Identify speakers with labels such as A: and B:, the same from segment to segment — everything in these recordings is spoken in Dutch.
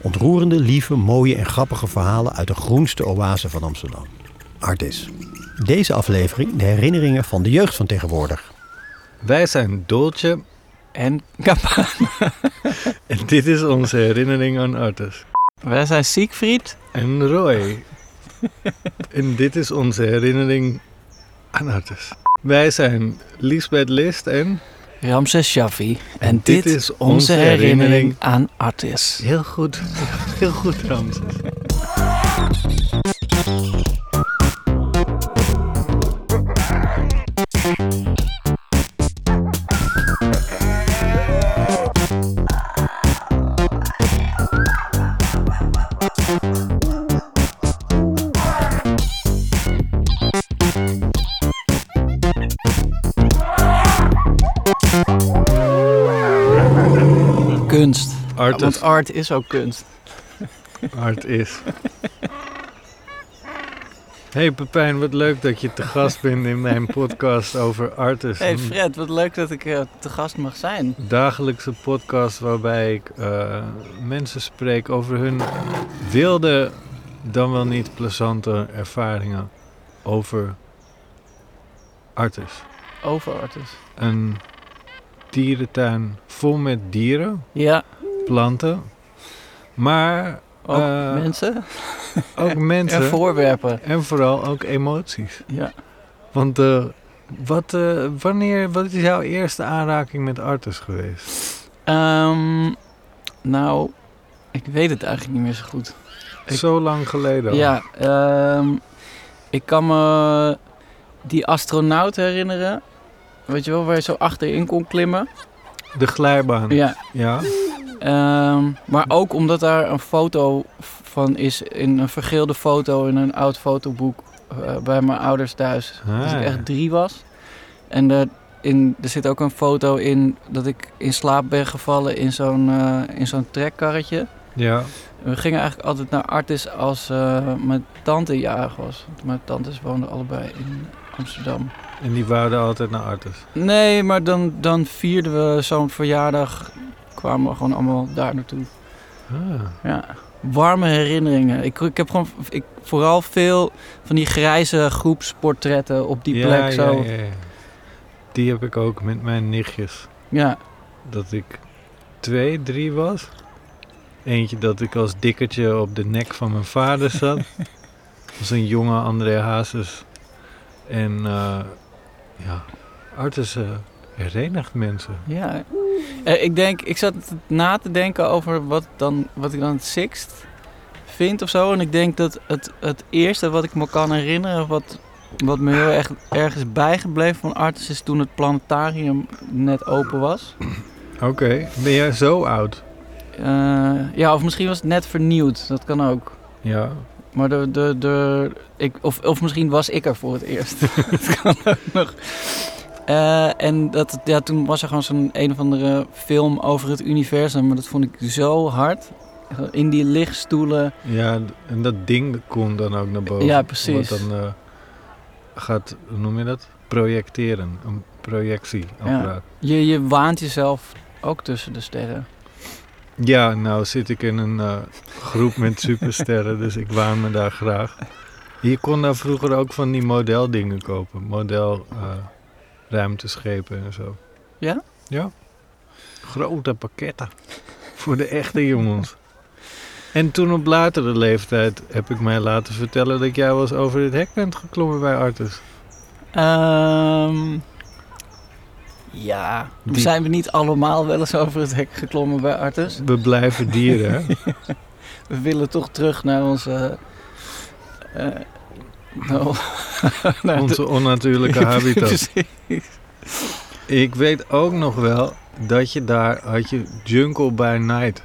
A: Ontroerende, lieve, mooie en grappige verhalen uit de groenste oase van Amsterdam. Artis. Deze aflevering de herinneringen van de jeugd van tegenwoordig.
B: Wij zijn Dolce en Gabbana. en dit is onze herinnering aan Artis.
C: Wij zijn Siegfried.
B: En Roy. en dit is onze herinnering aan Artis. Wij zijn Lisbeth List en...
C: Ramses Shafi. En, dit, is onze, herinnering,
B: herinnering
C: aan Artis.
B: Heel goed. Heel goed, Ramses.
C: Kunst. Ja,
B: Artis.
C: want art is ook kunst.
B: Art is. Hey Pepijn, wat leuk dat je te gast bent in mijn podcast over artis.
C: Hey Fred, wat leuk dat ik eh, te gast mag zijn.
B: dagelijkse podcast waarbij ik eh, mensen spreek over hun wilde, dan wel niet plezante ervaringen over artis.
C: Over Artis.
B: Een dierentuin vol met dieren,
C: Ja,
B: planten, maar
C: ook
B: Eh,
C: Oh, mensen
B: ook mensen
C: en voorwerpen.
B: en vooral ook emoties.
C: Ja.
B: Want eh, wat, eh, wanneer, wat is jouw eerste aanraking met artis geweest?
C: Ehm, nou, ik weet het eigenlijk niet meer zo goed. Ik-
B: Zo lang geleden al.
C: Ja, ehm, ik kan me die astronaut herinneren. Weet je wel, waar je zo achterin kon klimmen.
B: De glijbaan.
C: Ja,
B: ja.
C: Ehm, maar ook omdat daar een foto van is, in een vergeelde foto in een oud fotoboek eh, bij mijn ouders thuis.
B: Ah,
C: Als ik
B: ja.
C: echt drie was. En er, in, er zit ook een foto in dat ik in slaap ben gevallen in zo'n, eh, in zo'n trekkarretje.
B: Ja,
C: En We gingen eigenlijk altijd naar Artis als eh, mijn tante jarig was. Want Mijn tantes woonden allebei in Amsterdam.
B: en die wouden altijd naar Artis.
C: Nee, maar dan, dan vierden we zo'n verjaardag. Kwamen we gewoon allemaal daar naartoe.
B: Ah,
C: Ja, warme herinneringen. Ik, ik heb gewoon ik, vooral veel van die grijze groepsportretten op die
B: ja,
C: plek. Zo. Ja,
B: Ja, ja, ja. Die heb ik ook met mijn nichtjes. Dat ik twee, drie was. Eentje dat ik als dikkertje op de nek van mijn vader zat. Dat was een jonge André Hazes. En eh, ja, Artis eh, herenigt mensen.
C: ja. Eh, ik denk, ik zat na te denken over wat, dan, wat ik dan het sixth vind of zo. En ik denk dat het, het eerste wat ik me kan herinneren, wat, wat me heel erg ergens bijgebleven van Artis, is toen het planetarium net open was.
B: Oké, ben jij zo oud?
C: Eh, ja, of misschien was het net vernieuwd. Dat kan ook.
B: Ja.
C: Maar de, de, de, ik, of, of misschien was ik er voor het eerst. dat kan ook nog. Eh, en dat, ja, toen was er gewoon zo'n een of andere film over het universum. Maar dat vond ik zo hard. In die lichtstoelen.
B: Ja, en dat ding kon dan ook naar boven.
C: Ja, precies.
B: Wat dan eh, gaat, hoe noem je dat? Projecteren. Een projectieapparaat.
C: Je, je waant jezelf ook tussen de sterren.
B: Ja. nou zit ik in een eh, groep met supersterren, dus ik waan me daar graag. Je kon daar vroeger ook van die modeldingen kopen. Model eh, ruimteschepen en zo.
C: Ja?
B: Ja. Grote pakketten. Voor de echte jongens. En toen op latere leeftijd heb ik mij laten vertellen dat jij wel eens over het hek bent geklommen bij Artus.
C: Ehm, ja.
B: Die-
C: Zijn we niet allemaal wel eens over het hek geklommen bij Artus?
B: We blijven dieren, hè?
C: We willen toch terug naar onze... eh, nou, naar de-
B: Onze onnatuurlijke habitat.
C: Precies.
B: Ik weet ook nog wel dat je daar had je Jungle by Night.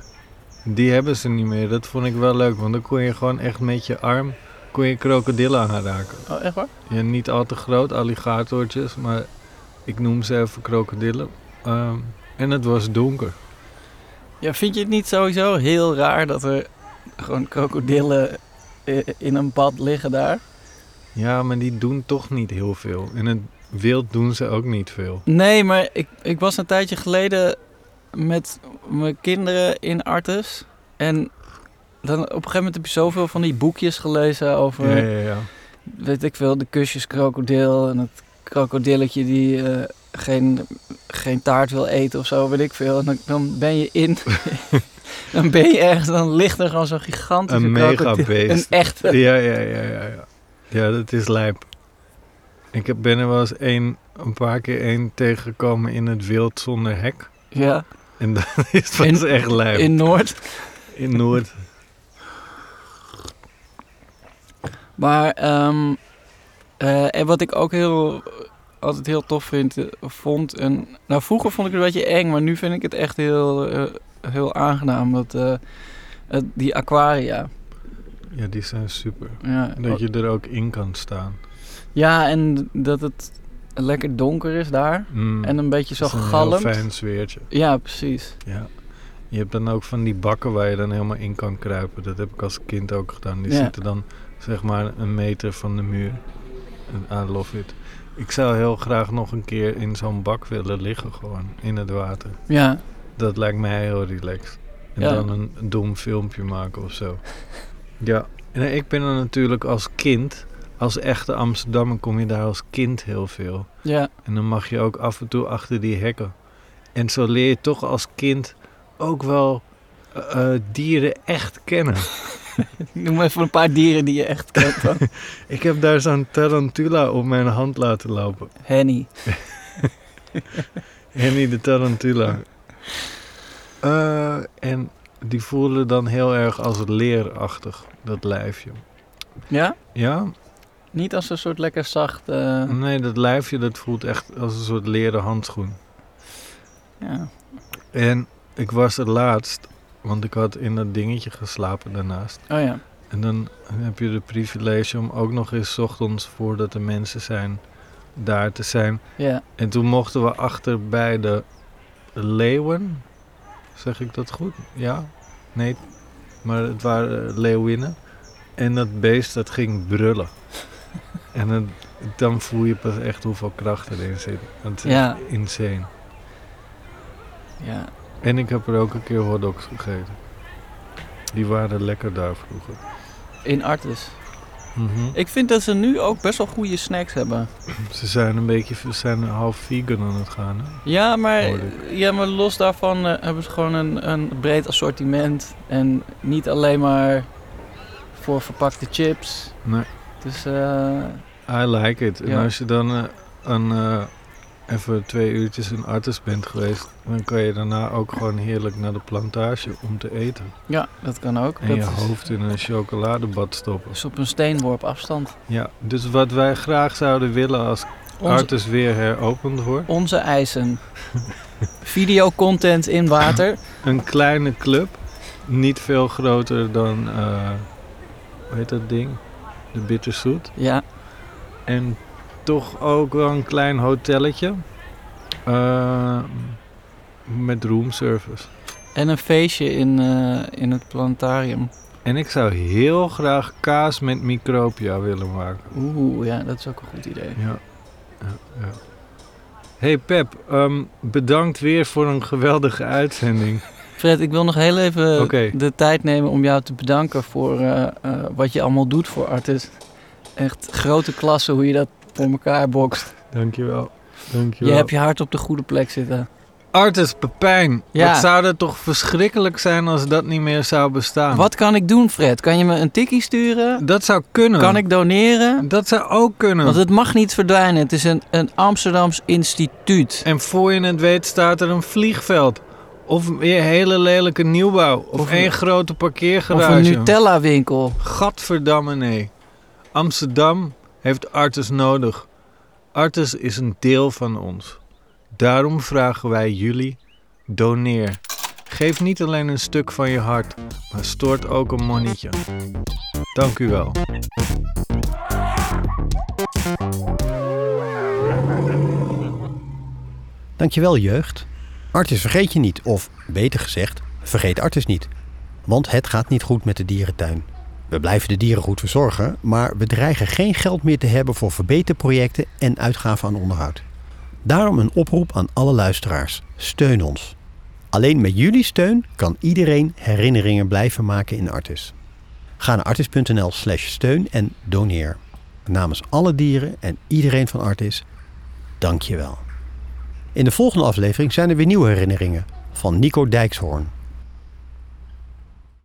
B: Die hebben ze niet meer. Dat vond ik wel leuk, want dan kon je gewoon echt met je arm kon je krokodillen aanraken.
C: Oh, echt waar?
B: Ja, niet al te groot, alligatortjes, maar ik noem ze even krokodillen. Ehm, en het was donker.
C: Ja, vind je het niet sowieso heel raar dat er gewoon krokodillen eh, in een bad liggen daar?
B: Ja, maar die doen toch niet heel veel. In het wild doen ze ook niet veel.
C: Nee, maar ik, ik was een tijdje geleden met mijn kinderen in Artes. En dan op een gegeven moment heb je zoveel van die boekjes gelezen over,
B: Ja, ja, ja.
C: weet ik veel, de kusjes krokodil en het krokodilletje die eh, geen, geen taart wil eten of zo, weet ik veel. En dan, dan ben je in, dan ben je ergens, dan ligt er gewoon zo'n gigantische
B: Een mega
C: krokodil. Een
B: beest.
C: echte.
B: Ja, ja, ja, ja, ja. Ja, dat is lijp. Ik heb- ben er wel eens een, een paar keer één tegengekomen in het wild zonder hek.
C: Ja,
B: En dat is was echt lijp.
C: in Noord.
B: In Noord.
C: Maar ehm, eh, en wat ik ook heel, altijd heel tof vind, eh, vond. En, nou, vroeger vond ik het een beetje eng, maar nu vind ik het echt heel, eh, heel aangenaam. Dat, eh, het- die aquaria.
B: Ja, die zijn super.
C: Ja,
B: Dat je er ook in kan staan.
C: ja, en dat het lekker donker is daar.
B: Mm.
C: En een beetje zo
B: Het is een heel
C: galm.
B: fijn zweertje.
C: Ja, precies.
B: Ja. Je hebt dan ook van die bakken waar je dan helemaal in kan kruipen. Dat heb ik als kind ook gedaan. Die
C: Ja.
B: zitten dan zeg maar een meter van de muur. En I love it. Ik zou heel graag nog een keer in zo'n bak willen liggen gewoon. In het water.
C: Ja,
B: Dat lijkt mij heel relaxed. En
C: Ja.
B: dan een dom filmpje maken of zo. ja. En ik ben er natuurlijk als kind... Als echte Amsterdammer kom je daar als kind heel veel.
C: ja,
B: En dan mag je ook af en toe achter die hekken. En zo leer je toch als kind ook wel eh, eh, dieren echt kennen.
C: noem even een paar dieren die je echt kent. dan.
B: Ik heb daar zo'n tarantula op mijn hand laten lopen.
C: Henny.
B: Henny de tarantula. Eh, en die voelde dan heel erg als leerachtig, dat lijfje.
C: Ja?
B: Ja?
C: Niet als een soort lekker zacht... eh,
B: Nee, dat lijfje dat voelt echt als een soort leren handschoen.
C: ja.
B: En ik was er laatst, want ik had in dat dingetje geslapen daarnaast.
C: Oh ja.
B: En dan heb je de privilege om ook nog eens 's ochtends voordat er mensen zijn daar te zijn.
C: Ja,
B: En toen mochten we achter bij de leeuwen. Zeg ik dat goed? Ja? Nee. Maar het waren eh, leeuwinnen. En dat beest dat ging brullen. en het- dan voel je pas echt hoeveel kracht erin zit. Dat is
C: Ja.
B: echt insane.
C: ja.
B: En ik heb er ook een keer hotdogs gegeten. Die waren lekker daar vroeger.
C: In Artis.
B: Mhm.
C: Ik vind dat ze nu ook best wel goede snacks hebben.
B: Ze zijn een beetje ze zijn half vegan aan het gaan. Hè?
C: Ja, maar,
B: Hoor
C: ja, maar los daarvan eh, hebben ze gewoon een, een breed assortiment. En niet alleen maar voor verpakte chips.
B: Nee.
C: Dus eh,
B: I like it. En
C: Ja.
B: als je dan eh, een, eh, even twee uurtjes in artis bent geweest, dan kan je daarna ook gewoon heerlijk naar de plantage om te eten.
C: ja, dat kan ook.
B: En
C: dat
B: je
C: is-
B: hoofd in een chocoladebad stoppen.
C: is op een steenworp afstand.
B: Ja, dus wat wij graag zouden willen als
C: Onze,
B: artis weer heropend wordt.
C: onze eisen. Videocontent in water.
B: Een kleine club, niet veel groter dan, eh, hoe heet dat ding? De bitterzoet.
C: Ja,
B: En toch ook wel een klein hotelletje. eh, met roomservice.
C: en een feestje in, eh, in het planetarium.
B: En ik zou heel graag kaas met micropia willen maken.
C: Oeh, ja, dat is ook een goed idee.
B: Ja. ja, ja. Hey Pep, ehm, bedankt weer voor een geweldige uitzending.
C: Fred, ik wil nog heel even
B: Oké.
C: de tijd nemen om jou te bedanken voor eh, eh, wat je allemaal doet voor Artis. Echt grote klasse hoe je dat voor elkaar bokst.
B: Dankjewel.
C: Je
B: Dankjewel.
C: hebt je hart op de goede plek zitten.
B: Artis Pepijn,
C: Ja.
B: wat zou dat toch verschrikkelijk zijn als dat niet meer zou bestaan?
C: Wat kan ik doen, Fred? Kan je me een tikkie sturen?
B: Dat zou kunnen.
C: Kan ik doneren?
B: Dat zou ook kunnen.
C: Want het mag niet verdwijnen. Het is een, een Amsterdams instituut.
B: En voor je het weet staat er een vliegveld. Of een hele lelijke nieuwbouw. Of,
C: Of een-
B: één grote
C: Of
B: parkeergarage.
C: een Nutella-winkel.
B: Gadverdamme nee. Amsterdam heeft Artis nodig. Artis is een deel van ons. Daarom vragen wij jullie, doneer. Geef niet alleen een stuk van je hart, maar stort ook een monnetje. Dank u wel.
A: Dankjewel jeugd. Artis vergeet je niet, of beter gezegd, vergeet Artis niet. Want het gaat niet goed met de dierentuin. We blijven de dieren goed verzorgen, maar we dreigen geen geld meer te hebben voor verbeterprojecten en uitgaven aan onderhoud. Daarom een oproep aan alle luisteraars. Steun ons. Alleen met jullie steun kan iedereen herinneringen blijven maken in Artis. Ga naar artis.nl slash steun en doneer. Namens alle dieren en iedereen van Artis, dank je wel. In de volgende aflevering zijn er weer nieuwe herinneringen van Nico Dijkshoorn.